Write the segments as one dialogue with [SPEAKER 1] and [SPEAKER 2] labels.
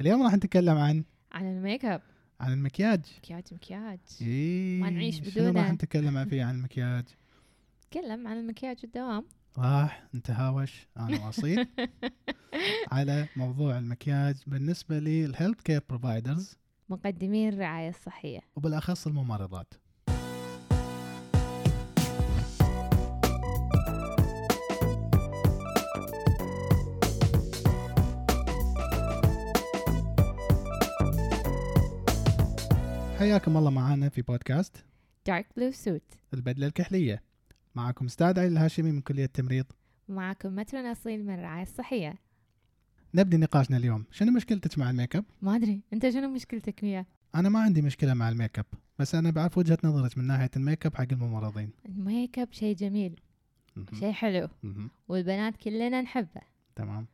[SPEAKER 1] اليوم راح نتكلم عن
[SPEAKER 2] عن الميك اب
[SPEAKER 1] عن المكياج
[SPEAKER 2] مكياج مكياج
[SPEAKER 1] إيه،
[SPEAKER 2] ما نعيش
[SPEAKER 1] شنو راح
[SPEAKER 2] بدونه.
[SPEAKER 1] نتكلم عن فيه عن المكياج
[SPEAKER 2] تكلم عن المكياج والدوام
[SPEAKER 1] راح نتهاوش انا واصيل على موضوع المكياج بالنسبه للهيلث كير بروفايدرز
[SPEAKER 2] مقدمين الرعاية الصحية
[SPEAKER 1] وبالاخص الممرضات حياكم الله معنا في بودكاست
[SPEAKER 2] دارك بلو سوت
[SPEAKER 1] البدلة الكحلية معكم استاذ علي الهاشمي من كلية التمريض
[SPEAKER 2] ومعكم مترن أصيل من الرعاية الصحية
[SPEAKER 1] نبدي نقاشنا اليوم شنو مشكلتك مع الميك اب
[SPEAKER 2] ما أدري أنت شنو مشكلتك وياه
[SPEAKER 1] انا ما عندي مشكلة مع الميك اب بس انا بعرف وجهة نظرك من ناحية الميك اب حق الممرضين
[SPEAKER 2] الميك اب شيء جميل
[SPEAKER 1] مهم.
[SPEAKER 2] شيء حلو
[SPEAKER 1] مهم.
[SPEAKER 2] والبنات كلنا نحبه
[SPEAKER 1] تمام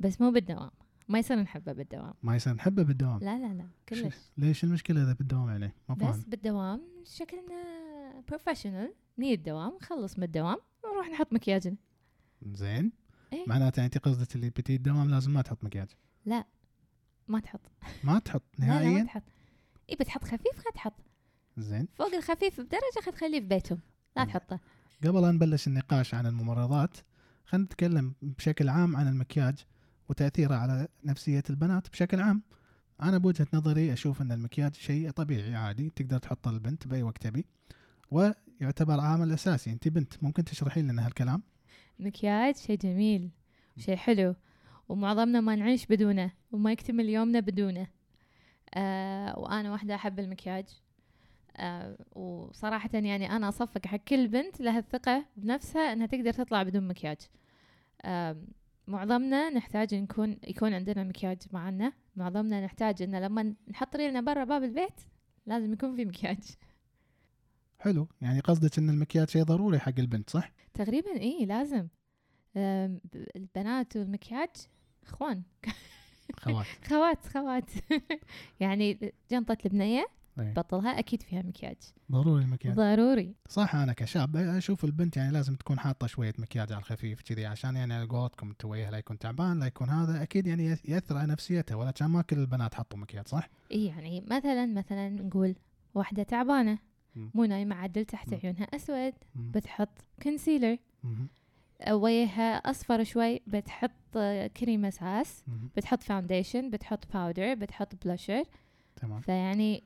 [SPEAKER 2] بس مو بالدوام ما يصير نحبه بالدوام
[SPEAKER 1] ما يصير نحبه بالدوام
[SPEAKER 2] لا لا لا كلش
[SPEAKER 1] شو- ليش المشكلة اذا بالدوام يعني ما
[SPEAKER 2] بس
[SPEAKER 1] فاهم
[SPEAKER 2] بالدوام شكلنا بروفيشنال ني الدوام نخلص من الدوام ونروح نحط مكياجنا
[SPEAKER 1] زين
[SPEAKER 2] إيه.
[SPEAKER 1] معناته انت قصدك اللي بتي الدوام لازم ما تحط مكياج
[SPEAKER 2] ما تحط
[SPEAKER 1] ما تحط
[SPEAKER 2] لا لا ما
[SPEAKER 1] نهائيا
[SPEAKER 2] تحط اي بتحط خفيف خد تحط
[SPEAKER 1] زين
[SPEAKER 2] فوق الخفيف بدرجه خد خليه في بيتهم لا تحطه
[SPEAKER 1] قبل أن نبلش النقاش عن الممرضات خلينا نتكلم بشكل عام عن المكياج وتأثيره على نفسية البنات بشكل عام أنا بوجهة نظري أشوف أن المكياج شيء طبيعي عادي تقدر تحطه البنت بأي وقت تبي ويعتبر عامل أساسي أنت بنت ممكن تشرحين لنا هالكلام
[SPEAKER 2] مكياج شيء جميل شيء حلو ومعظمنا ما نعيش بدونه وما يكتمل يومنا بدونه آه وانا واحده احب المكياج آه وصراحه يعني انا اصفق حق كل بنت لها الثقه بنفسها انها تقدر تطلع بدون مكياج آه معظمنا نحتاج نكون يكون عندنا مكياج معنا معظمنا نحتاج ان لما نحط ريلنا برا باب البيت لازم يكون في مكياج
[SPEAKER 1] حلو يعني قصدك أن المكياج شيء ضروري حق البنت صح؟
[SPEAKER 2] تقريبا ايه لازم آم، ب- البنات والمكياج اخوان
[SPEAKER 1] خوات
[SPEAKER 2] خوات خوات يعني جنطة البنية
[SPEAKER 1] إيه.
[SPEAKER 2] بطلها اكيد فيها مكياج
[SPEAKER 1] ضروري المكياج
[SPEAKER 2] ضروري
[SPEAKER 1] صح أنا كشاب أشوف البنت يعني لازم تكون حاطة شوية مكياج على الخفيف كذي عشان يعني على قولتكم أنتوا وجهها لا يكون تعبان لا يكون هذا أكيد يعني يأثر على نفسيته ولا كان ما كل البنات حطوا مكياج صح؟
[SPEAKER 2] اي يعني مثلا مثلا نقول واحدة تعبانة
[SPEAKER 1] مم.
[SPEAKER 2] مو نايمة عدل تحت
[SPEAKER 1] مم.
[SPEAKER 2] عيونها اسود
[SPEAKER 1] مم.
[SPEAKER 2] بتحط كونسيلر
[SPEAKER 1] مهم.
[SPEAKER 2] وجهها اصفر شوي بتحط آه، كريم اساس
[SPEAKER 1] مهم.
[SPEAKER 2] بتحط فاونديشن بتحط باودر بتحط بلاشر
[SPEAKER 1] تمام
[SPEAKER 2] فيعني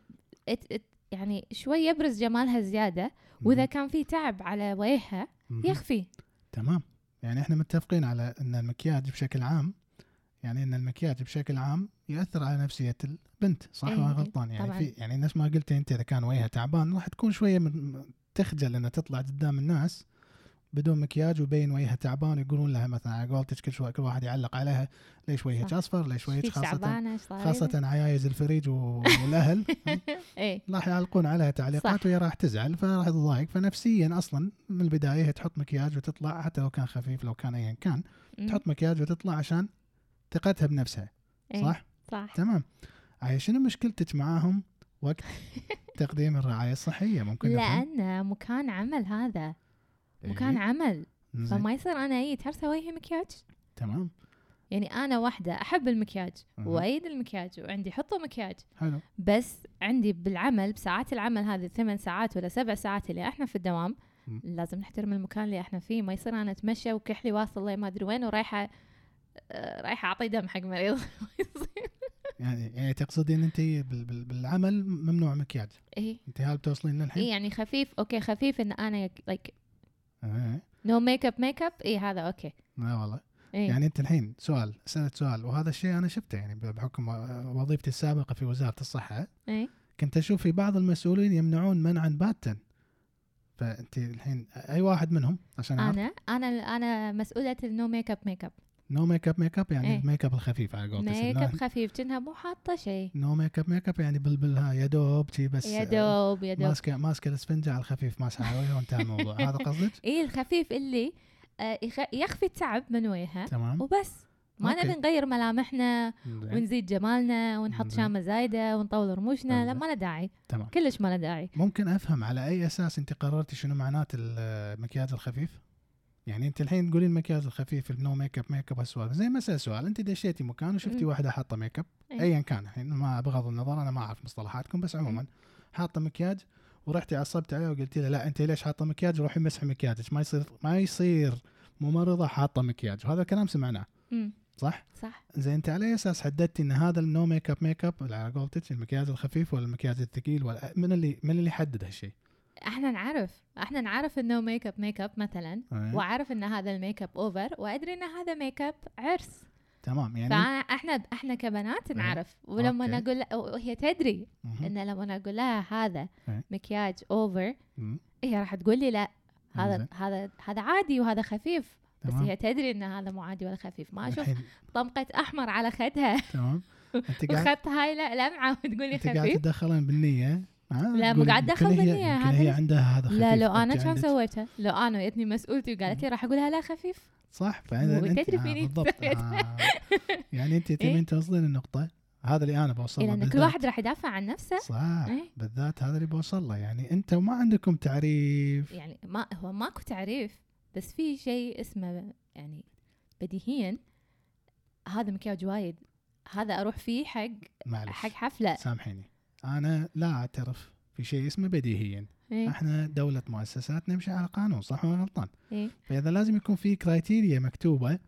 [SPEAKER 2] ات ات يعني شوي يبرز جمالها زيادة واذا كان في تعب على وجهها
[SPEAKER 1] مهم.
[SPEAKER 2] يخفي
[SPEAKER 1] تمام يعني احنا متفقين على ان المكياج بشكل عام يعني ان المكياج بشكل عام ياثر على نفسيه البنت صح
[SPEAKER 2] أي،
[SPEAKER 1] ولا غلطان يعني
[SPEAKER 2] إيه، طبعاً.
[SPEAKER 1] في يعني نفس ما قلت انت اذا كان وجهها تعبان راح تكون شويه من تخجل انها تطلع قدام الناس بدون مكياج وبين وجهها تعبان يقولون لها مثلا على قولتك كل شوي كل واحد يعلق عليها ليش وجهك
[SPEAKER 2] صح. طيب.
[SPEAKER 1] اصفر ليش
[SPEAKER 2] شوي
[SPEAKER 1] وجهك خاصه
[SPEAKER 2] تعبانة إيش صاير؟
[SPEAKER 1] خاصه عيايز الفريج و- والاهل
[SPEAKER 2] ايه
[SPEAKER 1] راح يعلقون عليها تعليقات
[SPEAKER 2] صح.
[SPEAKER 1] وهي راح تزعل فراح تضايق فنفسيا اصلا من البدايه هي تحط مكياج وتطلع حتى لو كان خفيف لو كان ايا كان
[SPEAKER 2] مم.
[SPEAKER 1] تحط مكياج وتطلع عشان ثقتها بنفسها
[SPEAKER 2] إيه،
[SPEAKER 1] صح؟
[SPEAKER 2] صح
[SPEAKER 1] تمام عايشة شنو مشكلتك معاهم وقت تقديم الرعايه الصحيه ممكن نفهم؟
[SPEAKER 2] لأن مكان عمل هذا مكان
[SPEAKER 1] إيه،
[SPEAKER 2] عمل
[SPEAKER 1] زين،
[SPEAKER 2] فما يصير أنا أي ترسى وجهي مكياج
[SPEAKER 1] تمام
[SPEAKER 2] يعني أنا واحدة أحب المكياج
[SPEAKER 1] مهم.
[SPEAKER 2] وأيد المكياج وعندي حطوا مكياج
[SPEAKER 1] حلو
[SPEAKER 2] بس عندي بالعمل بساعات العمل هذه الثمان ساعات ولا سبع ساعات اللي احنا في الدوام
[SPEAKER 1] مم.
[SPEAKER 2] لازم نحترم المكان اللي احنا فيه ما يصير انا اتمشى وكحلي واصل لي ما ادري وين ورايحه آه، رايحه اعطي دم حق مريض ما يصير.
[SPEAKER 1] يعني يعني تقصدين انت بال- بال- بالعمل ممنوع مكياج
[SPEAKER 2] ايه
[SPEAKER 1] انت هل بتوصلين
[SPEAKER 2] ايه
[SPEAKER 1] للحين؟
[SPEAKER 2] يعني خفيف اوكي خفيف ان انا لايك إيه.
[SPEAKER 1] ايه
[SPEAKER 2] نو ميك اب ميك اب اي إيه، هذا اوكي
[SPEAKER 1] لا والله
[SPEAKER 2] ايه
[SPEAKER 1] يعني انت الحين سؤال سالت سؤال وهذا الشيء انا شفته يعني بحكم وظيفتي السابقه في وزاره الصحه
[SPEAKER 2] ايه
[SPEAKER 1] كنت اشوف في بعض المسؤولين يمنعون منعا باتا فانت الحين اي واحد منهم عشان اعرف
[SPEAKER 2] انا انا انا مسؤوله النو ميك اب ميك اب
[SPEAKER 1] نو ميك اب ميك اب يعني
[SPEAKER 2] ايه.
[SPEAKER 1] الميك اب الخفيف على قولتك
[SPEAKER 2] ميك اب
[SPEAKER 1] إنه
[SPEAKER 2] خفيف كأنها مو حاطه شيء
[SPEAKER 1] نو ميك اب ميك اب يعني بلبلها يا دوب شي بس آه،
[SPEAKER 2] يا دوب يا دوب
[SPEAKER 1] ماسكه ماسكه الاسفنجه على الخفيف ماسحه على وجهها وانتهى الموضوع هذا قصدك؟
[SPEAKER 2] اي إيه، الخفيف اللي آه، يخ- يخفي التعب من وجهها
[SPEAKER 1] تمام
[SPEAKER 2] وبس ما
[SPEAKER 1] أوكي.
[SPEAKER 2] نبي نغير ملامحنا
[SPEAKER 1] زين،
[SPEAKER 2] ونزيد جمالنا ونحط
[SPEAKER 1] زين.
[SPEAKER 2] شامه زايده ونطول رموشنا لا
[SPEAKER 1] زين.
[SPEAKER 2] ما له داعي
[SPEAKER 1] تمام
[SPEAKER 2] كلش ما له داعي
[SPEAKER 1] ممكن افهم على اي اساس انت قررتي شنو معنات المكياج الخفيف؟ يعني انت الحين تقولين المكياج الخفيف النو ميك اب ميك اب هالسوالف زي ما اسال سؤال انت دشيتي مكان وشفتي
[SPEAKER 2] مم.
[SPEAKER 1] واحده حاطه ميك اب
[SPEAKER 2] أي.
[SPEAKER 1] ايا كان الحين ما بغض النظر انا ما اعرف مصطلحاتكم بس عموما حاطه مكياج ورحتي عصبت عليها وقلتي لها لا انت ليش حاطه مكياج روحي مسحي مكياجك ما يصير ما يصير ممرضه حاطه مكياج وهذا الكلام سمعناه
[SPEAKER 2] أمم،
[SPEAKER 1] صح؟
[SPEAKER 2] صح
[SPEAKER 1] زي انت على أي اساس حددتي ان هذا النو ميك اب ميك اب على قولتك المكياج الخفيف ولا المكياج الثقيل ولا من اللي من اللي حدد هالشيء؟
[SPEAKER 2] احنا نعرف احنا نعرف انه ميك اب ميك اب مثلا
[SPEAKER 1] أي.
[SPEAKER 2] واعرف ان هذا الميك اب اوفر وادري ان هذا ميك اب عرس
[SPEAKER 1] تمام يعني
[SPEAKER 2] فاحنا احنا كبنات
[SPEAKER 1] إيه.
[SPEAKER 2] نعرف ولما
[SPEAKER 1] أوكي.
[SPEAKER 2] نقول وهي تدري
[SPEAKER 1] مهم.
[SPEAKER 2] ان لما أنا اقول لها هذا
[SPEAKER 1] إيه.
[SPEAKER 2] مكياج اوفر
[SPEAKER 1] مم.
[SPEAKER 2] هي راح تقول لي لا هذا
[SPEAKER 1] إنزين.
[SPEAKER 2] هذا هذا عادي وهذا خفيف بس
[SPEAKER 1] تمام.
[SPEAKER 2] هي تدري ان هذا مو عادي ولا خفيف ما اشوف
[SPEAKER 1] الحين-
[SPEAKER 2] طمقه احمر على خدها
[SPEAKER 1] تمام انت قاعد
[SPEAKER 2] وخط هاي لا لمعه وتقول لي
[SPEAKER 1] انت قاعد
[SPEAKER 2] خفيف
[SPEAKER 1] تدخلين بالنية ها؟
[SPEAKER 2] لا، مو
[SPEAKER 1] تقول
[SPEAKER 2] قاعد
[SPEAKER 1] يمكن
[SPEAKER 2] أدخل
[SPEAKER 1] هي-
[SPEAKER 2] بالنية،
[SPEAKER 1] يمكن
[SPEAKER 2] هذا
[SPEAKER 1] هي
[SPEAKER 2] ليش-
[SPEAKER 1] عندها هذا خفيف
[SPEAKER 2] لا لو
[SPEAKER 1] وأنت
[SPEAKER 2] انا كان
[SPEAKER 1] عندك-
[SPEAKER 2] سويتها لو انا جتني مسؤولتي وقالت لي راح اقول لها لا خفيف
[SPEAKER 1] صح فاذا
[SPEAKER 2] مو
[SPEAKER 1] انت
[SPEAKER 2] تدري
[SPEAKER 1] آه،
[SPEAKER 2] فيني
[SPEAKER 1] بالضبط
[SPEAKER 2] تسويت.
[SPEAKER 1] آه. يعني انت تبين توصلين النقطة هذا اللي انا بوصل
[SPEAKER 2] إيه،
[SPEAKER 1] له
[SPEAKER 2] لان كل
[SPEAKER 1] بالذات.
[SPEAKER 2] واحد راح يدافع عن نفسه
[SPEAKER 1] صح
[SPEAKER 2] إيه.
[SPEAKER 1] بالذات هذا اللي بوصل له يعني انت ما عندكم تعريف
[SPEAKER 2] يعني ما هو ماكو تعريف بس في شيء اسمه يعني بديهيا هذا مكياج وايد هذا اروح فيه حق حق
[SPEAKER 1] معلش
[SPEAKER 2] حفله
[SPEAKER 1] سامحيني انا لا اعترف في شيء اسمه بديهيا
[SPEAKER 2] إيه.
[SPEAKER 1] احنا دولة مؤسسات نمشي على قانون صح ولا غلطان
[SPEAKER 2] إيه.
[SPEAKER 1] فاذا لازم يكون في كرايتيريا مكتوبة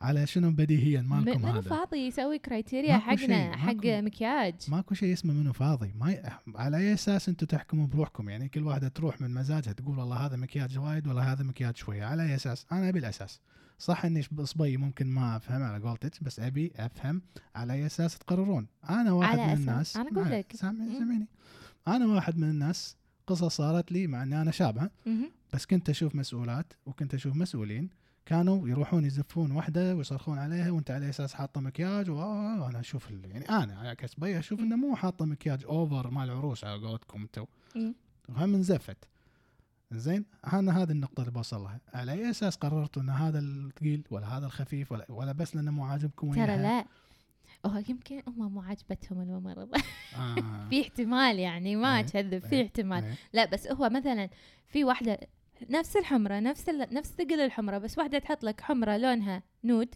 [SPEAKER 1] على شنو بديهيا
[SPEAKER 2] م-
[SPEAKER 1] مالكم
[SPEAKER 2] منو
[SPEAKER 1] هذا
[SPEAKER 2] فاضي يسوي كرايتيريا
[SPEAKER 1] ماكو شيء،
[SPEAKER 2] حقنا حق
[SPEAKER 1] ماكو.
[SPEAKER 2] مكياج
[SPEAKER 1] ماكو شيء اسمه منو فاضي ما ي... على اي اساس انتم تحكمون بروحكم يعني كل واحده تروح من مزاجها تقول والله هذا مكياج وايد والله هذا مكياج شويه على اي اساس انا ابي الاساس صح اني شب- صبي ممكن ما افهم على قولتك بس ابي افهم على اي اساس تقررون انا واحد
[SPEAKER 2] على
[SPEAKER 1] من
[SPEAKER 2] أساس-
[SPEAKER 1] الناس
[SPEAKER 2] أنا أقول
[SPEAKER 1] مع-
[SPEAKER 2] لك. إيه.
[SPEAKER 1] سامعني
[SPEAKER 2] مم.
[SPEAKER 1] سامعني انا واحد من الناس قصة صارت لي مع اني انا شابه
[SPEAKER 2] مهم.
[SPEAKER 1] بس كنت اشوف مسؤولات وكنت اشوف مسؤولين كانوا يروحون يزفون واحده ويصرخون عليها وانت على اساس حاطه مكياج وانا اشوف ال- يعني انا كسبي اشوف انه مو حاطه مكياج اوفر مال عروس على قولتكم انتو
[SPEAKER 2] مم.
[SPEAKER 1] وهم انزفت زين انا هذه النقطه اللي بوصل لها على اي اساس قررتوا ان هذا الثقيل ولا هذا الخفيف ولا, ولا بس لانه مو عاجبكم
[SPEAKER 2] ترى
[SPEAKER 1] وإياها؟
[SPEAKER 2] لا هو يمكن هم مو عجبتهم الممرضة
[SPEAKER 1] آه.
[SPEAKER 2] في احتمال يعني ما
[SPEAKER 1] إيه.
[SPEAKER 2] اكذب في
[SPEAKER 1] إيه.
[SPEAKER 2] احتمال
[SPEAKER 1] إيه.
[SPEAKER 2] لا بس هو مثلا في واحدة نفس الحمرة نفس ال... نفس ثقل الحمرة بس واحدة تحط لك حمرة لونها نود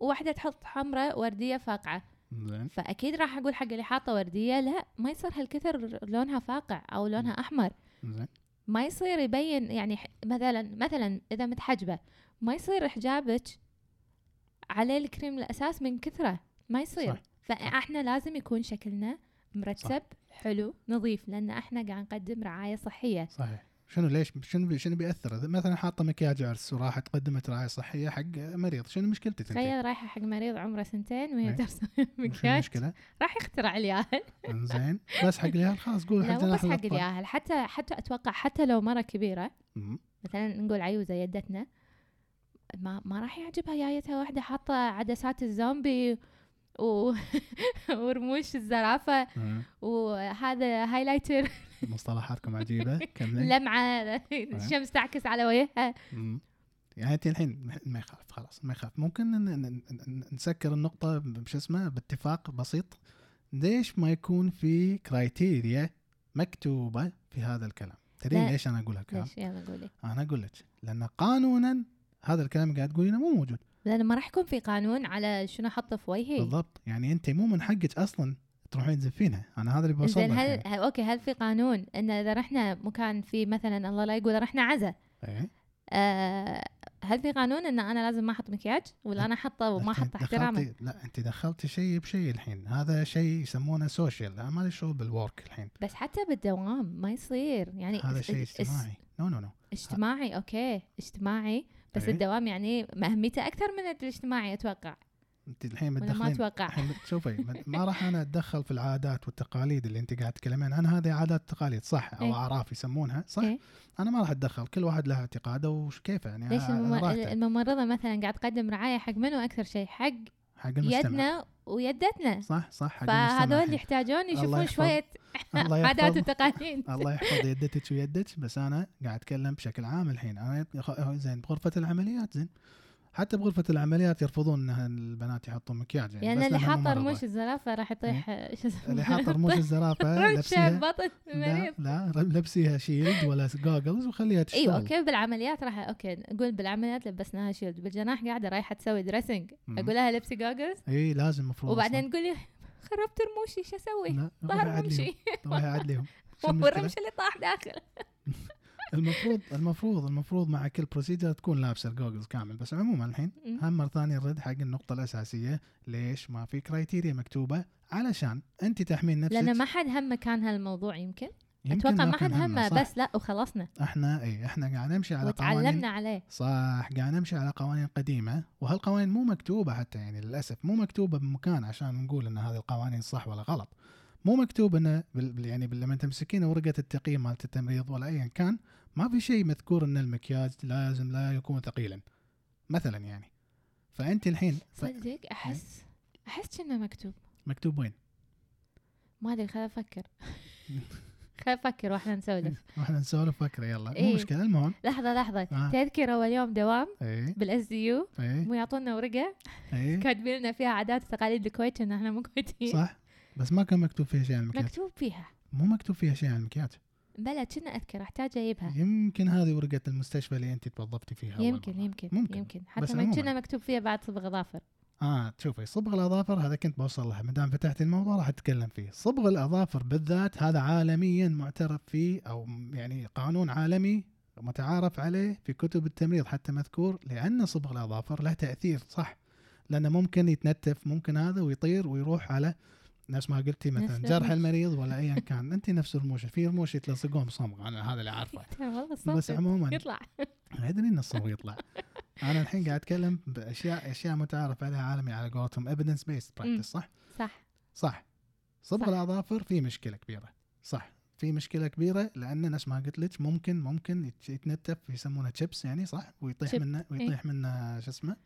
[SPEAKER 2] وواحدة تحط حمرة وردية فاقعة
[SPEAKER 1] زين
[SPEAKER 2] فأكيد راح أقول حق اللي حاطة وردية لا ما يصير هالكثر لونها فاقع أو لونها أحمر
[SPEAKER 1] زين
[SPEAKER 2] ما يصير يبين يعني ح- مثلا مثلا اذا متحجبه ما يصير حجابك عليه الكريم الاساس من كثره ما يصير
[SPEAKER 1] صح.
[SPEAKER 2] صح. فاحنا لازم يكون شكلنا مرتب صح. حلو نظيف لان احنا قاعد نقدم رعايه صحيه
[SPEAKER 1] صحيح شنو ليش شنو بي شنو بياثر إذا مثلا حاطه مكياج عرس وراحت قدمت رعايه صحيه حق مريض شنو مشكلتك انت؟
[SPEAKER 2] تخيل رايحه حق مريض عمره سنتين
[SPEAKER 1] إيه.
[SPEAKER 2] وهي ترسم
[SPEAKER 1] شنو
[SPEAKER 2] مكياج
[SPEAKER 1] المشكله؟
[SPEAKER 2] راح يخترع الياهل
[SPEAKER 1] انزين بس حق اليهال خلاص قول
[SPEAKER 2] لا
[SPEAKER 1] حتى
[SPEAKER 2] مو
[SPEAKER 1] نحن
[SPEAKER 2] بس حق
[SPEAKER 1] الأطفال.
[SPEAKER 2] الياهل حتى حتى اتوقع حتى لو مره كبيره
[SPEAKER 1] مم.
[SPEAKER 2] مثلا نقول عيوزه يدتنا ما ما راح يعجبها جايتها واحده حاطه عدسات الزومبي و... ورموش الزرافه
[SPEAKER 1] مم.
[SPEAKER 2] وهذا
[SPEAKER 1] إيه.
[SPEAKER 2] هايلايتر
[SPEAKER 1] مصطلحاتكم عجيبه كملي
[SPEAKER 2] لمعه
[SPEAKER 1] إيه.
[SPEAKER 2] الشمس تعكس على وجهها
[SPEAKER 1] مم. يعني انت الحين ما يخالف خلاص ما يخالف ممكن ن- ن- ن- نسكر النقطه ب- بش اسمه باتفاق بسيط ليش ما يكون في كرايتيريا مكتوبه في هذا الكلام؟ تدرين
[SPEAKER 2] لا.
[SPEAKER 1] ليش انا اقول هالكلام؟
[SPEAKER 2] ليش يلا قولي
[SPEAKER 1] انا اقول لك لان قانونا هذا الكلام قاعد تقولينه مو موجود
[SPEAKER 2] لان ما راح يكون في قانون على شنو احطه في وجهي
[SPEAKER 1] بالضبط يعني انت مو من حقك اصلا تروحين تزفينها انا هذا اللي بوصل
[SPEAKER 2] زين
[SPEAKER 1] لك
[SPEAKER 2] هل
[SPEAKER 1] هل...
[SPEAKER 2] هل- اوكي هل في قانون ان اذا رحنا مكان في مثلا الله لا يقول رحنا عزا
[SPEAKER 1] ايه
[SPEAKER 2] أه هل في قانون ان انا لازم ما احط مكياج ولا انا حاطه وما
[SPEAKER 1] أنت
[SPEAKER 2] احط احتراما
[SPEAKER 1] دخلتي- لا انت دخلتي شيء بشيء الحين هذا شيء يسمونه سوشيال انا مالي شغل بالورك الحين
[SPEAKER 2] بس حتى بالدوام ما يصير يعني
[SPEAKER 1] هذا
[SPEAKER 2] اس-
[SPEAKER 1] شيء
[SPEAKER 2] اس-
[SPEAKER 1] اجتماعي نو نو نو
[SPEAKER 2] اجتماعي اوكي اجتماعي بس
[SPEAKER 1] إيه.
[SPEAKER 2] الدوام يعني مهمته اكثر من الاجتماعي اتوقع
[SPEAKER 1] انت الحين
[SPEAKER 2] ولا ما
[SPEAKER 1] بتدخلين
[SPEAKER 2] اتوقع
[SPEAKER 1] الحين شوفي ما- ما راح انا اتدخل في العادات والتقاليد اللي انت قاعد تتكلمين عنها هذه عادات وتقاليد صح او
[SPEAKER 2] إيه.
[SPEAKER 1] اعراف يسمونها صح
[SPEAKER 2] إيه.
[SPEAKER 1] انا ما راح اتدخل كل واحد له اعتقاده وكيفه يعني
[SPEAKER 2] ليش
[SPEAKER 1] أنا- أنا
[SPEAKER 2] المم-
[SPEAKER 1] راحته.
[SPEAKER 2] الممرضه مثلا قاعد تقدم رعايه حق منو اكثر شيء حق
[SPEAKER 1] حق المجتمع
[SPEAKER 2] يدنا ويدتنا
[SPEAKER 1] صح صح حق المجتمع
[SPEAKER 2] فهذول
[SPEAKER 1] الحين.
[SPEAKER 2] يحتاجون يشوفون
[SPEAKER 1] يحفظ-
[SPEAKER 2] شويه
[SPEAKER 1] الله
[SPEAKER 2] عادات
[SPEAKER 1] يحفظ
[SPEAKER 2] وتقاليد
[SPEAKER 1] الله يحفظ يدتك ويدك بس انا قاعد اتكلم بشكل عام الحين انا يت- خ- زين بغرفه العمليات زين حتى بغرفة العمليات يرفضون انها البنات يحطون مكياج يعني
[SPEAKER 2] يعني
[SPEAKER 1] بس
[SPEAKER 2] اللي
[SPEAKER 1] لأنها
[SPEAKER 2] حاطر
[SPEAKER 1] ممرضة.
[SPEAKER 2] موش الزرافه راح يطيح شو اسمه
[SPEAKER 1] اللي حاطر موش الزرافة
[SPEAKER 2] روح شاف
[SPEAKER 1] لبسيها
[SPEAKER 2] بطن
[SPEAKER 1] لا
[SPEAKER 2] المريض
[SPEAKER 1] لا لبسيها شيلد ولا جوجلز وخليها تشتغل
[SPEAKER 2] ايوه اوكي بالعمليات راح اوكي نقول بالعمليات لبسناها شيلد بالجناح قاعده رايحه تسوي دريسنج
[SPEAKER 1] مم.
[SPEAKER 2] اقول لها لبسي جوجلز
[SPEAKER 1] اي لازم المفروض
[SPEAKER 2] وبعدين تقول لي خربت رموشي شو اسوي؟
[SPEAKER 1] لا روح
[SPEAKER 2] ظهر
[SPEAKER 1] عاد ليهم
[SPEAKER 2] رمشي
[SPEAKER 1] روح عاد ليهم شو المشكلة؟
[SPEAKER 2] والرمش اللي طاح داخل
[SPEAKER 1] المفروض المفروض المفروض مع كل بروسيجر تكون لابسه الجوجلز كامل بس عموما الحين
[SPEAKER 2] مم.
[SPEAKER 1] هم مره ثانيه نرد حق النقطه الاساسيه ليش ما في كرايتيريا مكتوبه علشان انت تحمين نفسك
[SPEAKER 2] لان ما حد همه كان هالموضوع يمكن
[SPEAKER 1] يمكن
[SPEAKER 2] اتوقع ما
[SPEAKER 1] كان
[SPEAKER 2] حد همه
[SPEAKER 1] صح.
[SPEAKER 2] بس لا وخلصنا
[SPEAKER 1] احنا اي احنا قاعد نمشي على قوانين
[SPEAKER 2] وتعلمنا عليه
[SPEAKER 1] صح قاعد نمشي على قوانين قديمه وهالقوانين مو مكتوبه حتى يعني للاسف مو مكتوبه بمكان عشان نقول ان هذه القوانين صح ولا غلط مو مكتوب انه بال بال- يعني بال- لما تمسكين ورقه التقييم مالت التمريض ولا ايا كان ما في شيء مذكور ان المكياج لازم لا يكون ثقيلا مثلا يعني فانت الحين ف-
[SPEAKER 2] صدق احس احس كنا مكتوب
[SPEAKER 1] مكتوب وين؟
[SPEAKER 2] ما ادري خل افكر خل افكر واحنا نسولف
[SPEAKER 1] إيه، واحنا نسولف فكره يلا مو
[SPEAKER 2] إيه.
[SPEAKER 1] مشكله المهم إيه،
[SPEAKER 2] لحظه لحظه
[SPEAKER 1] آه.
[SPEAKER 2] تذكر اول يوم دوام
[SPEAKER 1] اي
[SPEAKER 2] بالاس دي يو
[SPEAKER 1] اي
[SPEAKER 2] مو يعطونا ورقه
[SPEAKER 1] اي
[SPEAKER 2] كاتبين لنا فيها عادات وتقاليد الكويت ان احنا مو كويتيين
[SPEAKER 1] إيه. صح بس ما كان مكتوب فيها شيء عن المكياج
[SPEAKER 2] إيه. مكتوب فيها
[SPEAKER 1] مو مكتوب فيها شيء عن المكياج
[SPEAKER 2] بلا كنا اذكر احتاج اجيبها
[SPEAKER 1] يمكن هذه ورقة المستشفى اللي أنت توظفتي فيها إيه، أول
[SPEAKER 2] آه. يمكن
[SPEAKER 1] مرة.
[SPEAKER 2] يمكن
[SPEAKER 1] ممكن.
[SPEAKER 2] يمكن
[SPEAKER 1] بس
[SPEAKER 2] حتى ما
[SPEAKER 1] عموماً.
[SPEAKER 2] كنا مكتوب فيها بعد صبغ اظافر
[SPEAKER 1] آه تشوفي صبغ الأظافر هذا كنت بوصل لها مدام فتحتي الموضوع راح أتكلم فيه صبغ الأظافر بالذات هذا عالميا معترف فيه أو م- يعني قانون عالمي متعارف عليه في كتب التمريض حتى مذكور لأن صبغ الأظافر له تأثير صح لأنه ممكن يتنتف ممكن هذا ويطير ويروح على نفس ما قلتي مثلا
[SPEAKER 2] نفس
[SPEAKER 1] جرح
[SPEAKER 2] الرموش.
[SPEAKER 1] المريض ولا ايا كان انت نفس الرموش في رموش يتلصقون بصمغ انا هذا اللي اعرفه
[SPEAKER 2] والله
[SPEAKER 1] بس
[SPEAKER 2] صدق.
[SPEAKER 1] عموما
[SPEAKER 2] يطلع
[SPEAKER 1] ادري ان الصوت يطلع انا الحين قاعد اتكلم باشياء اشياء متعارف عليها عالمي على قولتهم evidence based practice
[SPEAKER 2] مم.
[SPEAKER 1] صح؟
[SPEAKER 2] صح
[SPEAKER 1] صح صبغ
[SPEAKER 2] صح.
[SPEAKER 1] الاظافر في مشكله كبيره صح في مشكله كبيره لان نفس ما قلت لك ممكن ممكن يت- يتنتف يسمونه تشيبس يعني صح ويطيح
[SPEAKER 2] Chip. إيه.
[SPEAKER 1] منه ويطيح منه شو اسمه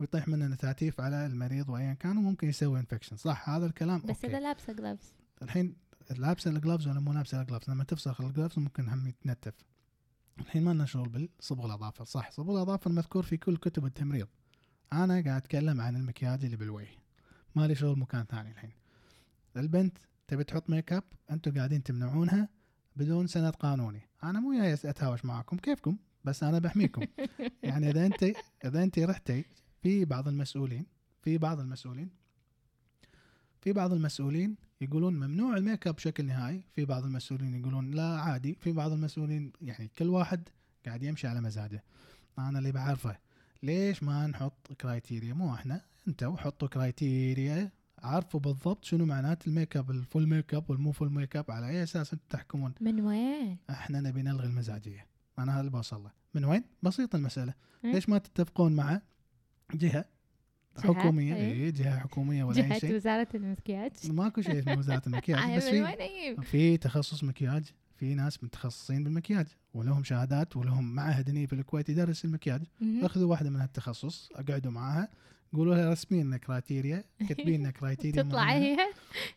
[SPEAKER 1] ويطيح منه نتاتيف على المريض وايا كان وممكن يسوي انفكشن صح هذا الكلام
[SPEAKER 2] بس
[SPEAKER 1] أوكي.
[SPEAKER 2] اذا لابسه جلافز
[SPEAKER 1] الحين لابسه الجلافز ولا مو لابسه الجلافز لما تفسخ الجلافز ممكن هم يتنتف الحين ما لنا شغل بالصبغ الاظافر صح صبغ الاظافر مذكور في كل كتب التمريض انا قاعد اتكلم عن المكياج اللي بالوجه ما لي شغل مكان ثاني الحين البنت تبي تحط ميك اب انتم قاعدين تمنعونها بدون سند قانوني انا مو جاي اتهاوش معاكم كيفكم بس انا بحميكم يعني اذا انت اذا انت رحتي في بعض المسؤولين في بعض المسؤولين في بعض المسؤولين يقولون ممنوع الميك اب بشكل نهائي في بعض المسؤولين يقولون لا عادي في بعض المسؤولين يعني كل واحد قاعد يمشي على مزاجه انا اللي بعرفه ليش ما نحط كرايتيريا مو احنا انتوا حطوا كرايتيريا عارفوا بالضبط شنو معنات الميك اب الفول ميك اب والمو فول ميك اب على اي اساس انتم تحكمون
[SPEAKER 2] من وين؟
[SPEAKER 1] احنا نبي نلغي المزاجيه انا هذا اللي بوصل له من وين بسيطه المساله
[SPEAKER 2] إيه.
[SPEAKER 1] ليش ما تتفقون مع جهه
[SPEAKER 2] جهة،
[SPEAKER 1] حكوميه
[SPEAKER 2] إيه.
[SPEAKER 1] اي جهه حكوميه ولا اي
[SPEAKER 2] جهة
[SPEAKER 1] شيء
[SPEAKER 2] وزارة المكياج
[SPEAKER 1] ماكو شيء اسمه وزاره المكياج
[SPEAKER 2] أنا
[SPEAKER 1] بس
[SPEAKER 2] من
[SPEAKER 1] في
[SPEAKER 2] وين اجيب؟
[SPEAKER 1] في تخصص مكياج في ناس متخصصين بالمكياج ولهم شهادات ولهم معهد هني في الكويت يدرس المكياج
[SPEAKER 2] مهم.
[SPEAKER 1] اخذوا واحده من هالتخصص اقعدوا معاها قولوا لها رسمين لنا كرايتيريا كاتبين لنا كرايتيريا
[SPEAKER 2] تطلع
[SPEAKER 1] معينة.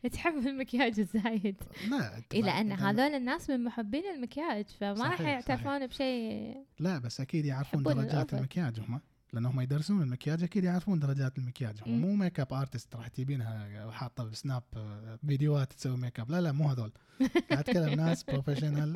[SPEAKER 2] هي تحب المكياج الزايد
[SPEAKER 1] لا
[SPEAKER 2] اي لان
[SPEAKER 1] تطلع-
[SPEAKER 2] هذول الناس من محبين المكياج فما
[SPEAKER 1] صحيح،
[SPEAKER 2] راح
[SPEAKER 1] صحيح.
[SPEAKER 2] يعترفون بشيء
[SPEAKER 1] لا بس اكيد يعرفون
[SPEAKER 2] يحبون
[SPEAKER 1] درجات
[SPEAKER 2] الأفضل.
[SPEAKER 1] المكياج هم لان هم يدرسون المكياج اكيد يعرفون درجات المكياج هم
[SPEAKER 2] مم.
[SPEAKER 1] مو ميك اب ارتست راح تجيبينها حاطه بسناب آه، فيديوهات تسوي ميك اب لا لا مو هذول قاعد اتكلم ناس بروفيشنال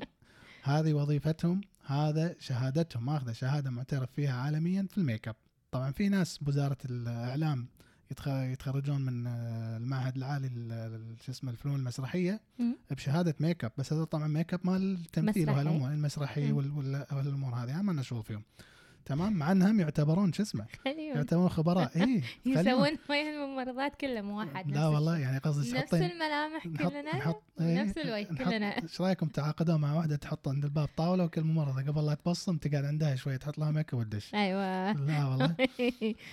[SPEAKER 1] هذه وظيفتهم هذا شهادتهم ماخذه شهاده معترف فيها عالميا في الميك اب طبعا في ناس بوزاره الاعلام يتخ- يتخرجون من آه، المعهد العالي لل- لل- شو اسمه الفنون المسرحيه
[SPEAKER 2] مم.
[SPEAKER 1] بشهاده ميك اب بس هذا طبعا ميك اب مال التمثيل
[SPEAKER 2] مسرحي.
[SPEAKER 1] وهالامور المسرحيه
[SPEAKER 2] مم.
[SPEAKER 1] وال- وال- والامور هذه ما لنا شغل فيهم تمام مع انهم يعتبرون شو اسمه
[SPEAKER 2] خليهم
[SPEAKER 1] يعتبرون خبراء اي
[SPEAKER 2] يسوون وجه الممرضات كلهم واحد
[SPEAKER 1] لا
[SPEAKER 2] نفس
[SPEAKER 1] والله يعني قصدي
[SPEAKER 2] الشيء. نفس
[SPEAKER 1] تحطين
[SPEAKER 2] الملامح
[SPEAKER 1] نحط-
[SPEAKER 2] كلنا
[SPEAKER 1] نحط- إيه،
[SPEAKER 2] نفس الوجه
[SPEAKER 1] نحط-
[SPEAKER 2] كلنا
[SPEAKER 1] ايش رايكم تعاقدوا مع واحده تحط عند الباب طاوله وكل ممرضه قبل لا تبصم تقعد عندها شويه تحط لها ميك اب وتدش
[SPEAKER 2] ايوه
[SPEAKER 1] لا والله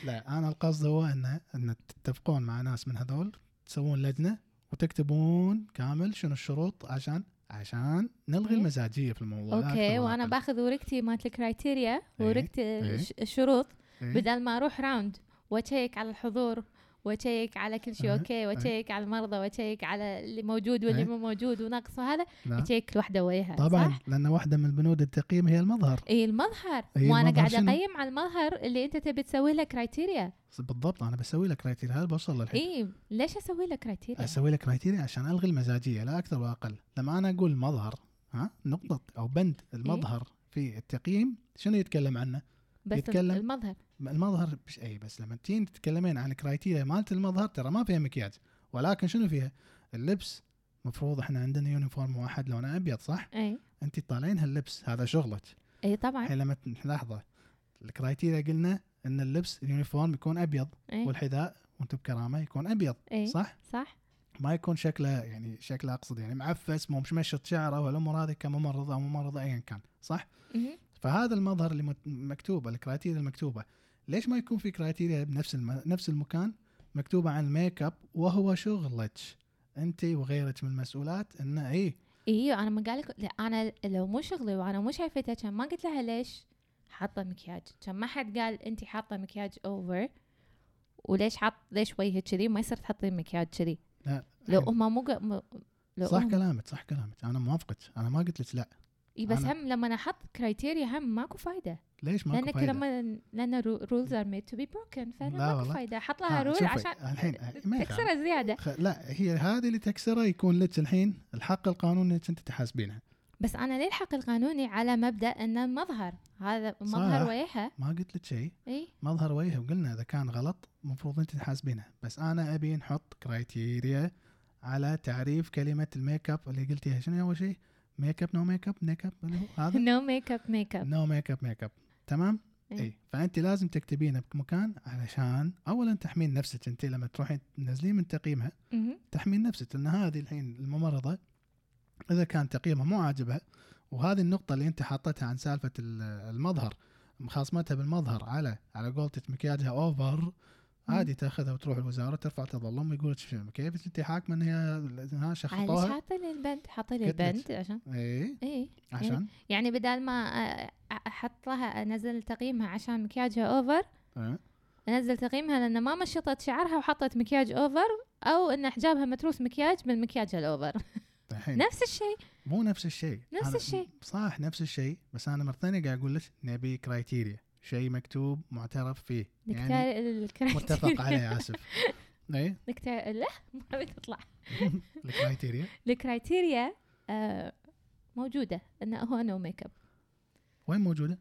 [SPEAKER 1] لا انا القصد هو ان ان تتفقون مع ناس من هذول تسوون لجنه وتكتبون كامل شنو الشروط عشان عشان نلغي
[SPEAKER 2] إيه.
[SPEAKER 1] المزاجيه في الموضوع لا
[SPEAKER 2] اوكي
[SPEAKER 1] أكثر ولا
[SPEAKER 2] وانا
[SPEAKER 1] أقل.
[SPEAKER 2] باخذ ورقتي مالت الكرايتيريا ورقتي
[SPEAKER 1] إيه.
[SPEAKER 2] الش- الشروط
[SPEAKER 1] إيه.
[SPEAKER 2] بدل ما اروح راوند واشيك على الحضور واشيك على كل شيء
[SPEAKER 1] أه،
[SPEAKER 2] اوكي واشيك على المرضى واشيك على اللي موجود واللي
[SPEAKER 1] أي.
[SPEAKER 2] مو موجود ونقص وهذا
[SPEAKER 1] لا.
[SPEAKER 2] اشيك لوحده وياها
[SPEAKER 1] طبعا
[SPEAKER 2] صح؟ إيه.
[SPEAKER 1] لان واحده من بنود التقييم هي المظهر
[SPEAKER 2] اي المظهر
[SPEAKER 1] أي
[SPEAKER 2] وانا
[SPEAKER 1] المظهر
[SPEAKER 2] قاعده
[SPEAKER 1] شنو؟
[SPEAKER 2] اقيم على المظهر اللي انت تبي تسوي له كرايتيريا
[SPEAKER 1] بالضبط انا بسوي لك كرايتيريا هل بوصل للحين
[SPEAKER 2] اي ليش اسوي له كرايتيريا؟
[SPEAKER 1] اسوي لك كرايتيريا عشان الغي المزاجيه لا اكثر ولا اقل لما انا اقول مظهر ها نقطه او بند المظهر في التقييم شنو يتكلم عنه
[SPEAKER 2] بس
[SPEAKER 1] يتكلم.
[SPEAKER 2] المظهر
[SPEAKER 1] المظهر مش اي بس لما تجين تتكلمين عن كرايتيريا مالت المظهر ترى ما فيها مكياج ولكن شنو فيها اللبس مفروض احنا عندنا يونيفورم واحد لونه ابيض صح
[SPEAKER 2] اي
[SPEAKER 1] انت طالعين هاللبس هذا شغلك
[SPEAKER 2] اي طبعا
[SPEAKER 1] الحين لما ت- لحظه الكرايتيريا قلنا ان اللبس اليونيفورم يكون ابيض
[SPEAKER 2] اي
[SPEAKER 1] والحذاء وانتم بكرامه يكون ابيض
[SPEAKER 2] اي
[SPEAKER 1] صح
[SPEAKER 2] إيه، صح
[SPEAKER 1] ما يكون شكله يعني شكله اقصد يعني معفس مو مشمشط شعره والامور هذه كممرض او ممرضه ايا كان صح؟
[SPEAKER 2] مهم.
[SPEAKER 1] فهذا المظهر اللي مت- مكتوبه الكرايتيريا المكتوبه ليش ما يكون في كرايتيريا بنفس الم... نفس المكان مكتوبه عن الميك اب وهو شغلك انت وغيرك من المسؤولات إيه، انه اي
[SPEAKER 2] ايوه انا ما قال لك لا، انا لو مو شغلي وانا مو شايفته كان ما قلت لها ليش حاطه مكياج كان ما حد قال انت حاطه مكياج اوفر وليش حاط ليش وجهك كذي ما يصير تحطين مكياج كذي
[SPEAKER 1] لا،
[SPEAKER 2] لو
[SPEAKER 1] الحين-
[SPEAKER 2] هم مو ق- مو- لو
[SPEAKER 1] صح
[SPEAKER 2] هم-
[SPEAKER 1] كلامك صح كلامك انا موافقك انا ما قلت لك لا
[SPEAKER 2] اي بس
[SPEAKER 1] أنا-
[SPEAKER 2] هم لما انا احط كرايتيريا هم ماكو فايده
[SPEAKER 1] ليش ماكو
[SPEAKER 2] لانك
[SPEAKER 1] فايده
[SPEAKER 2] لما لان رولز ار ميد تو بي بروكن
[SPEAKER 1] لا
[SPEAKER 2] فانا ماكو
[SPEAKER 1] والله.
[SPEAKER 2] فايده احط لها
[SPEAKER 1] ها،
[SPEAKER 2] رول
[SPEAKER 1] شوفي،
[SPEAKER 2] عشان
[SPEAKER 1] الحين إيه، ما يخالف.
[SPEAKER 2] تكسرها زياده
[SPEAKER 1] خ... لا هي هذه اللي تكسره يكون لك الحين الحق القانوني انك انت تحاسبينها
[SPEAKER 2] بس انا ليه الحق القانوني على مبدا ان المظهر هذا مظهر إيه.
[SPEAKER 1] صح.
[SPEAKER 2] وجهها
[SPEAKER 1] ما قلت لك شيء
[SPEAKER 2] اي
[SPEAKER 1] مظهر وجهه وقلنا اذا كان غلط المفروض انت تحاسبينه بس انا ابي نحط كرايتيريا على تعريف كلمه الميك اب اللي قلتيها شنو اول شيء ميك اب نو ميك اب ميك اب اللي هو هذا
[SPEAKER 2] نو ميك اب ميك اب
[SPEAKER 1] نو ميك اب ميك اب تمام
[SPEAKER 2] إيه.
[SPEAKER 1] اي فانت لازم تكتبينه بمكان علشان اولا تحمين نفسك انت لما تروحين تنزلين من تقييمها تحمين نفسك لان هذه الحين الممرضه اذا كان تقييمها مو عاجبها وهذه النقطه اللي انت حطيتها عن سالفه ال- المظهر مخاصمتها بالمظهر على على قولتك مكياجها اوفر عادي تاخذها وتروح الوزاره ترفع تظلم ويقول لك شنو، كيف انت حاكمه ان هي ها
[SPEAKER 2] معلش
[SPEAKER 1] شخطوها
[SPEAKER 2] حاطه لي البند حاطه لي
[SPEAKER 1] قلت لك.
[SPEAKER 2] البند عشان
[SPEAKER 1] اي
[SPEAKER 2] اي
[SPEAKER 1] إيه، عشان
[SPEAKER 2] يعني بدال ما أ- أ- احط لها انزل تقييمها عشان مكياجها اوفر
[SPEAKER 1] إيه.
[SPEAKER 2] انزل تقييمها لان ما مشطت شعرها وحطت مكياج اوفر او ان حجابها متروس مكياج من مكياج الاوفر
[SPEAKER 1] الحين
[SPEAKER 2] نفس الشيء
[SPEAKER 1] مو نفس الشيء
[SPEAKER 2] نفس
[SPEAKER 1] أنا-
[SPEAKER 2] الشيء.
[SPEAKER 1] صح نفس الشيء بس انا مره ثانيه قاعد اقول لك نبي كرايتيريا شيء مكتوب معترف فيه يعني
[SPEAKER 2] الكتار- الكرايتيريا-
[SPEAKER 1] متفق عليه إيه؟ اسف اي
[SPEAKER 2] الكتار- لا ما بتطلع
[SPEAKER 1] الكرايتيريا
[SPEAKER 2] الكرايتيريا آه، موجوده انه هو نو ميك اب
[SPEAKER 1] وين موجوده؟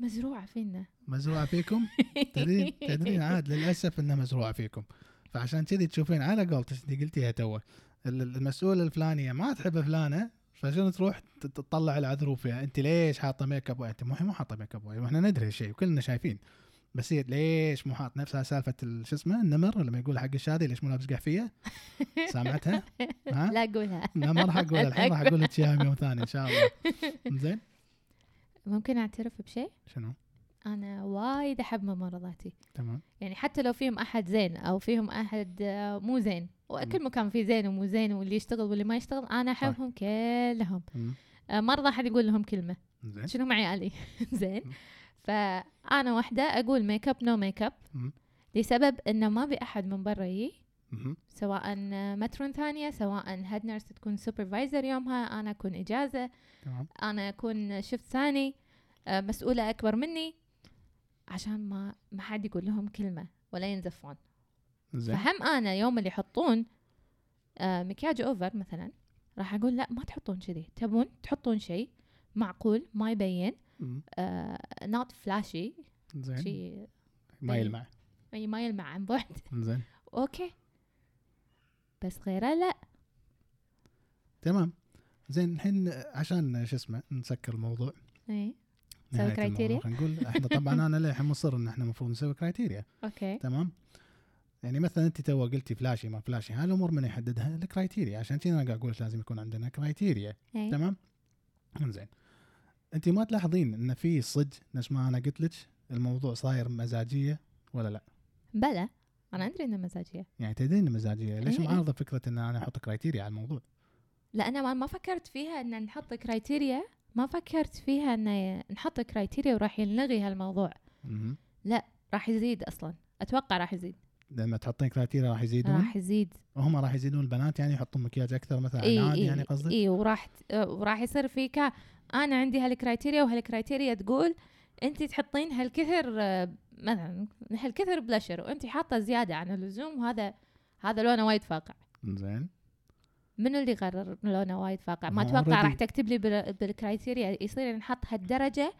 [SPEAKER 2] مزروعه فينا
[SPEAKER 1] مزروعه فيكم تدرين تدرين عاد للاسف انها مزروعه فيكم فعشان كذي تشوفين على قولتك انت قلتيها تو ال- المسؤوله الفلانيه ما تحب فلانه فشنو تروح ت- تطلع العذروب فيها انت ليش حاطه ميك اب انت مو مو حاطه ميك اب واحنا ندري هالشيء وكلنا شايفين بس هي ليش مو حاط نفسها سالفه ال- شو اسمه النمر لما يقول حق الشادي ليش مو لابس قحفيه سامعتها؟ ها؟
[SPEAKER 2] لا قولها
[SPEAKER 1] لا ما راح اقولها الحين راح اقول لك اياها يوم ثاني ان شاء الله زين
[SPEAKER 2] ممكن اعترف بشيء
[SPEAKER 1] شنو؟
[SPEAKER 2] انا وايد احب ممرضاتي
[SPEAKER 1] تمام
[SPEAKER 2] يعني حتى لو فيهم احد زين او فيهم احد آه، مو زين وكل مكان فيه زين ومو زين واللي يشتغل واللي ما يشتغل انا احبهم كلهم
[SPEAKER 1] مم.
[SPEAKER 2] آه، مرة حد يقول لهم كلمة
[SPEAKER 1] زين
[SPEAKER 2] شنو مع عيالي زين فانا واحدة اقول ميك اب نو ميك اب
[SPEAKER 1] مم.
[SPEAKER 2] لسبب انه ما بي احد من برا يجي
[SPEAKER 1] مهم.
[SPEAKER 2] سواء مترون ثانية سواء هيد نيرس تكون سوبرفايزر يومها أنا أكون إجازة
[SPEAKER 1] تمام
[SPEAKER 2] أنا أكون شفت ثاني آه، مسؤولة أكبر مني عشان ما ما حد يقول لهم كلمة ولا ينزفون
[SPEAKER 1] زين
[SPEAKER 2] فهم أنا يوم اللي يحطون آه، مكياج أوفر مثلا راح أقول لا ما تحطون كذي تبون تحطون شيء معقول ما يبين آه،
[SPEAKER 1] مم.
[SPEAKER 2] نوت فلاشي
[SPEAKER 1] زين
[SPEAKER 2] شيء
[SPEAKER 1] ما يلمع
[SPEAKER 2] أي ما يلمع عن بعد
[SPEAKER 1] زين
[SPEAKER 2] أوكي بس غيره لا
[SPEAKER 1] تمام زين الحين عشان شو اسمه نسكر الموضوع
[SPEAKER 2] إيه نسوي
[SPEAKER 1] نهاية الموضوع.
[SPEAKER 2] كرايتيريا؟
[SPEAKER 1] خلينا نقول احنا طبعا انا للحين مصر ان احنا المفروض نسوي كرايتيريا
[SPEAKER 2] أوكي
[SPEAKER 1] تمام يعني مثلا انت تو قلتي فلاشي ما فلاشي هالامور من يحددها الكرايتيريا عشان كذا انا قاعد اقول لك لازم يكون عندنا كرايتيريا
[SPEAKER 2] إيه.
[SPEAKER 1] تمام زين انت ما تلاحظين ان في صج نفس ما انا قلت لك الموضوع صاير مزاجيه ولا لا
[SPEAKER 2] بلى انا ادري انها مزاجيه
[SPEAKER 1] يعني تدرين مزاجيه ليش
[SPEAKER 2] إيه، إيه.
[SPEAKER 1] معارضه فكره ان انا احط كرايتيريا على الموضوع
[SPEAKER 2] لان ما- ما فكرت فيها ان نحط كرايتيريا ما فكرت فيها ان نحط كرايتيريا وراح يلغي هالموضوع
[SPEAKER 1] مهم.
[SPEAKER 2] راح يزيد اصلا اتوقع راح يزيد
[SPEAKER 1] لما تحطين كراتيريا راح يزيدون
[SPEAKER 2] راح يزيد
[SPEAKER 1] هم راح يزيدون البنات يعني يحطون مكياج اكثر مثلا عن
[SPEAKER 2] اي
[SPEAKER 1] العادي
[SPEAKER 2] اي
[SPEAKER 1] يعني قصدك
[SPEAKER 2] اي وراح ت- آه، وراح يصير في كا انا عندي هالكرايتيريا وهالكرايتيريا تقول انت تحطين هالكثر آه، مثلا هالكثر بلشر وانت حاطه زياده عن اللزوم وهذا هذا لونه وايد فاقع
[SPEAKER 1] زين
[SPEAKER 2] منو اللي قرر لونه وايد فاقع ما
[SPEAKER 1] ما
[SPEAKER 2] اتوقع راح
[SPEAKER 1] already.
[SPEAKER 2] تكتب لي بال- بالكرايتيريا يصير نحط هالدرجه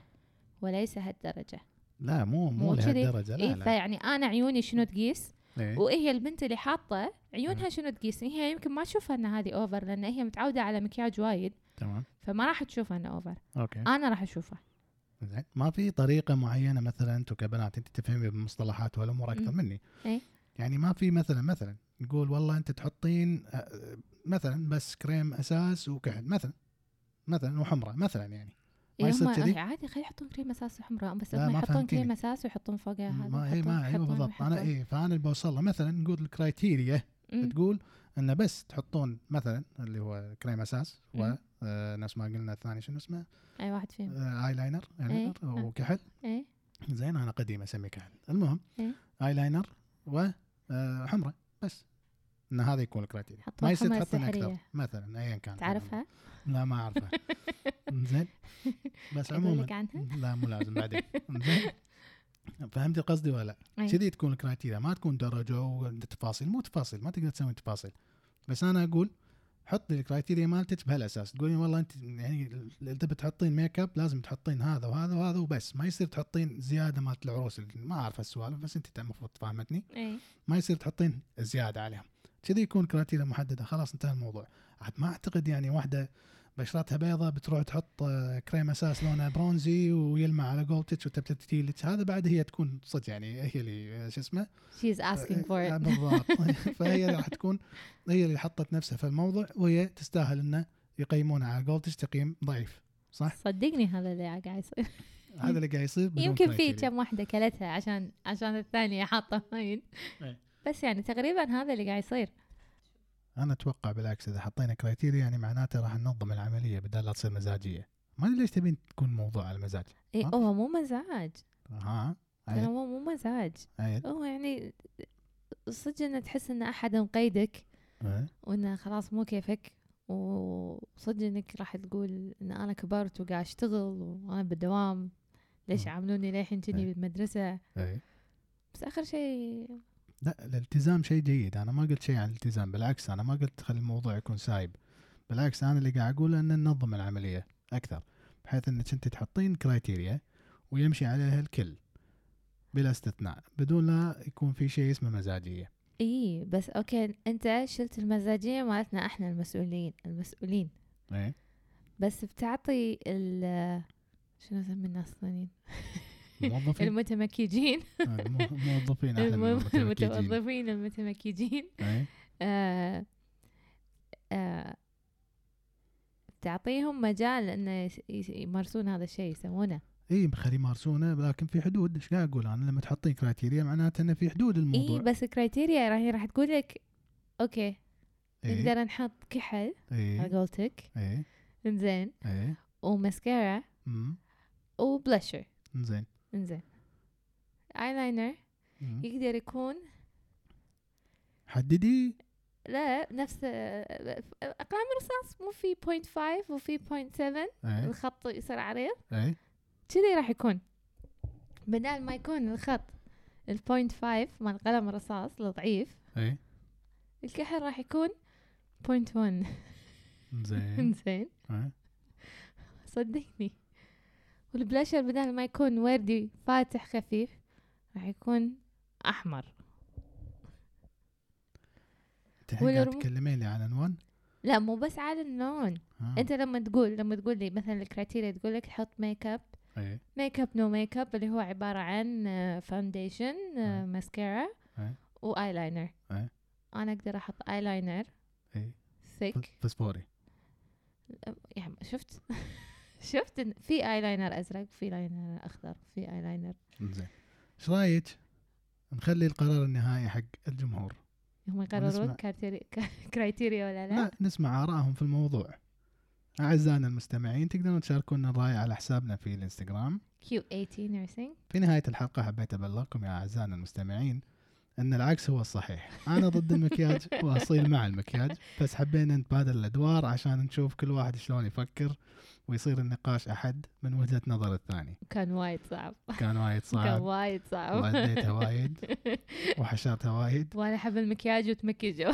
[SPEAKER 2] وليس هالدرجة
[SPEAKER 1] لا مو مو,
[SPEAKER 2] مو كذي.
[SPEAKER 1] لهالدرجه لا
[SPEAKER 2] إيه
[SPEAKER 1] لا
[SPEAKER 2] فيعني انا عيوني شنو تقيس
[SPEAKER 1] إيه.
[SPEAKER 2] وهي البنت اللي حاطه عيونها
[SPEAKER 1] مم.
[SPEAKER 2] شنو تقيس هي يمكن ما تشوفها ان هذه اوفر لان هي متعوده على مكياج وايد
[SPEAKER 1] تمام
[SPEAKER 2] فما راح تشوفها انه اوفر
[SPEAKER 1] اوكي
[SPEAKER 2] انا راح اشوفه
[SPEAKER 1] زين ما في طريقه معينه مثلا انتم كبنات انت تفهمي بالمصطلحات والامور اكثر
[SPEAKER 2] مم.
[SPEAKER 1] مني
[SPEAKER 2] إيه.
[SPEAKER 1] يعني ما في مثلا مثلا نقول والله انت تحطين آه، مثلا بس كريم اساس وكحل مثلا مثلا وحمره مثلا يعني ما
[SPEAKER 2] إيه،
[SPEAKER 1] يصير
[SPEAKER 2] هم-
[SPEAKER 1] كذي؟
[SPEAKER 2] إيه، عادي خلي يحطون كريم اساس وحمراء بس
[SPEAKER 1] لا،
[SPEAKER 2] هم
[SPEAKER 1] ما
[SPEAKER 2] يحطون كريم
[SPEAKER 1] فهمتيني.
[SPEAKER 2] اساس ويحطون فوقها هذا
[SPEAKER 1] ما هي
[SPEAKER 2] يحطون-
[SPEAKER 1] ما ايوه
[SPEAKER 2] يحطون
[SPEAKER 1] بالضبط انا
[SPEAKER 2] ويحطون.
[SPEAKER 1] ايه فانا اللي بوصل له مثلا نقول الكرايتيريا
[SPEAKER 2] مم.
[SPEAKER 1] تقول انه بس تحطون مثلا اللي هو كريم اساس
[SPEAKER 2] مم.
[SPEAKER 1] ونفس ما قلنا الثاني شنو اسمه
[SPEAKER 2] اي واحد فيهم
[SPEAKER 1] آه، اي لاينر ايلينر
[SPEAKER 2] نعم.
[SPEAKER 1] وكحل
[SPEAKER 2] اي
[SPEAKER 1] زين انا قديم اسميه كحل المهم
[SPEAKER 2] إيه.
[SPEAKER 1] اي لاينر وحمره بس ان هذا يكون الكرايتيريا
[SPEAKER 2] حطوا
[SPEAKER 1] ما يصير
[SPEAKER 2] الحمرة
[SPEAKER 1] تحطين اكثر
[SPEAKER 2] السحرية.
[SPEAKER 1] مثلا ايا كان
[SPEAKER 2] تعرفها؟
[SPEAKER 1] لا ما اعرفها زين بس
[SPEAKER 2] اقول
[SPEAKER 1] عموما
[SPEAKER 2] لك عنها؟
[SPEAKER 1] لا مو لازم بعدين زين فهمتي قصدي ولا لا؟
[SPEAKER 2] أي.
[SPEAKER 1] كذي تكون الكرايتيريا ما تكون درجه وتفاصيل مو تفاصيل ما تقدر تسوي تفاصيل بس انا اقول حطي الكرايتيريا مالتك بهالاساس تقولين والله انت يعني اللي انت بتحطين ميك اب لازم تحطين هذا وهذا وهذا وبس ما يصير تحطين زياده مالت العروس ما اعرف السوالف بس انت المفروض تفهمتني
[SPEAKER 2] اي
[SPEAKER 1] ما يصير تحطين زياده عليهم كذي يكون كراتيريا محدده خلاص انتهى الموضوع عاد ما اعتقد يعني واحده بشرتها بيضة بتروح تحط آه، كريم اساس لونه برونزي ويلمع على قولتك وتبتتي لك هذا بعد هي تكون صدق يعني هي اللي آه، شو اسمه
[SPEAKER 2] شي از اسكينج فور
[SPEAKER 1] آه،
[SPEAKER 2] ات
[SPEAKER 1] بالضبط فهي اللي راح تكون هي اللي حطت نفسها في الموضوع وهي تستاهل انه يقيمونها على قولتك تقييم ضعيف صح؟
[SPEAKER 2] صدقني هذا اللي قاعد يصير
[SPEAKER 1] هذا اللي قاعد يصير بدون
[SPEAKER 2] يمكن في
[SPEAKER 1] criteria.
[SPEAKER 2] كم واحدة كلتها عشان عشان الثانية حاطة ماين
[SPEAKER 1] إي.
[SPEAKER 2] بس يعني تقريبا هذا اللي قاعد يصير
[SPEAKER 1] انا اتوقع بالعكس اذا حطينا كرايتيريا يعني معناته راح ننظم العمليه بدل لا تصير مزاجيه ما ادري ليش تبين تكون موضوع على المزاج
[SPEAKER 2] اي
[SPEAKER 1] ها؟
[SPEAKER 2] هو إيه، مو مزاج
[SPEAKER 1] ها
[SPEAKER 2] ترى
[SPEAKER 1] عيل.
[SPEAKER 2] هو مو مزاج
[SPEAKER 1] عيل.
[SPEAKER 2] هو يعني صدق انه تحس ان احد مقيدك
[SPEAKER 1] إيه.
[SPEAKER 2] وانه خلاص مو كيفك وصدق انك راح تقول ان انا كبرت وقاعد اشتغل وانا بالدوام ليش
[SPEAKER 1] مم.
[SPEAKER 2] عاملوني للحين كذي
[SPEAKER 1] آه. إيه.
[SPEAKER 2] بالمدرسه
[SPEAKER 1] إيه.
[SPEAKER 2] بس اخر شيء
[SPEAKER 1] لا الالتزام شيء جيد انا ما قلت شيء عن الالتزام بالعكس انا ما قلت خلي الموضوع يكون سايب بالعكس انا اللي قاعد اقوله ان ننظم العمليه اكثر بحيث انك انت تحطين كرايتيريا ويمشي عليها الكل بلا استثناء بدون لا يكون في شيء اسمه مزاجيه
[SPEAKER 2] اي إيه، بس اوكي انت شلت المزاجيه مالتنا احنا المسؤولين المسؤولين
[SPEAKER 1] ايه
[SPEAKER 2] بس بتعطي ال شنو اسمي الناس الثانيين
[SPEAKER 1] موظفين آه،
[SPEAKER 2] المتمكجين
[SPEAKER 1] موظفين احنا من
[SPEAKER 2] الم-
[SPEAKER 1] المتمكجين.
[SPEAKER 2] المتوظفين المتمكجين
[SPEAKER 1] إيه.
[SPEAKER 2] آه، آه، تعطيهم مجال انه يس- يس- يمارسون هذا الشيء يسوونه
[SPEAKER 1] اي خلي يمارسونه إيه، لكن في حدود ايش قاعد اقول انا لما تحطين كرايتيريا معناته انه في حدود
[SPEAKER 2] اي
[SPEAKER 1] الموضوع
[SPEAKER 2] إيه، بس كرايتيريا راح راح تقول لك اوكي
[SPEAKER 1] اي
[SPEAKER 2] نقدر نحط كحل
[SPEAKER 1] اي
[SPEAKER 2] على قولتك
[SPEAKER 1] اي
[SPEAKER 2] انزين
[SPEAKER 1] اي
[SPEAKER 2] وماسكارا
[SPEAKER 1] امم
[SPEAKER 2] وبلشر
[SPEAKER 1] زين
[SPEAKER 2] انزين ايلاينر
[SPEAKER 1] مم.
[SPEAKER 2] يقدر يكون
[SPEAKER 1] حددي
[SPEAKER 2] لا نفس اقلام رصاص مو في 0.5 وفي 0.7
[SPEAKER 1] اي
[SPEAKER 2] الخط يصير عريض
[SPEAKER 1] اي
[SPEAKER 2] كذي راح يكون بدال ما يكون الخط البوينت فايف مال قلم الرصاص الضعيف
[SPEAKER 1] اي
[SPEAKER 2] الكحل راح يكون بوينت ون
[SPEAKER 1] زين
[SPEAKER 2] انزين
[SPEAKER 1] إيه.
[SPEAKER 2] صدقني والبلاشر بدال ما يكون وردي فاتح خفيف راح يكون احمر
[SPEAKER 1] انت الحين قاعد
[SPEAKER 2] والرموز-
[SPEAKER 1] تتكلمين لي عن عنوان
[SPEAKER 2] لا مو بس على اللون
[SPEAKER 1] ها.
[SPEAKER 2] انت لما تقول لما تقول لي مثلا الكرايتيريا تقول لك حط ميك اب
[SPEAKER 1] اي
[SPEAKER 2] ميك اب نو ميك اب اللي هو عبارة عن آه، فاونديشن
[SPEAKER 1] أي.
[SPEAKER 2] ماسكارا
[SPEAKER 1] أي.
[SPEAKER 2] وايلاينر
[SPEAKER 1] أي.
[SPEAKER 2] انا اقدر احط ايلاينر
[SPEAKER 1] اي
[SPEAKER 2] ثيك
[SPEAKER 1] فسفوري
[SPEAKER 2] يعني شفت شفت إن في ايلاينر ازرق في لاينر اخضر في ايلاينر
[SPEAKER 1] زين ايش رايك نخلي القرار النهائي حق الجمهور
[SPEAKER 2] هم يقررون
[SPEAKER 1] ونسمع.
[SPEAKER 2] كارتيري- ك- كرايتيريا ولا لا
[SPEAKER 1] لا نسمع آرائهم في الموضوع أعزائنا المستمعين تقدرون تشاركونا الرأي على حسابنا في الانستغرام
[SPEAKER 2] كيو 18 nursing
[SPEAKER 1] في نهاية الحلقة حبيت أبلغكم يا أعزائنا المستمعين ان العكس هو الصحيح انا ضد المكياج واصيل مع المكياج بس حبينا نتبادل الادوار عشان نشوف كل واحد شلون يفكر ويصير النقاش احد من وجهه نظر الثاني
[SPEAKER 2] كان وايد صعب
[SPEAKER 1] كان وايد
[SPEAKER 2] كان
[SPEAKER 1] صعب
[SPEAKER 2] وايد صعب
[SPEAKER 1] واديتها وايد وحشرتها وايد
[SPEAKER 2] وانا احب المكياج وتمكيجه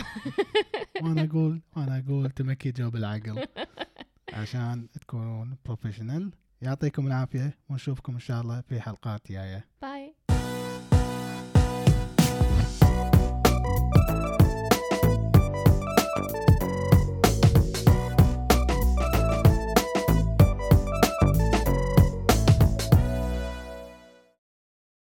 [SPEAKER 1] وانا اقول وانا اقول تمكجوا بالعقل عشان تكونون بروفيشنال يعطيكم العافيه ونشوفكم ان شاء الله في حلقات جايه
[SPEAKER 2] باي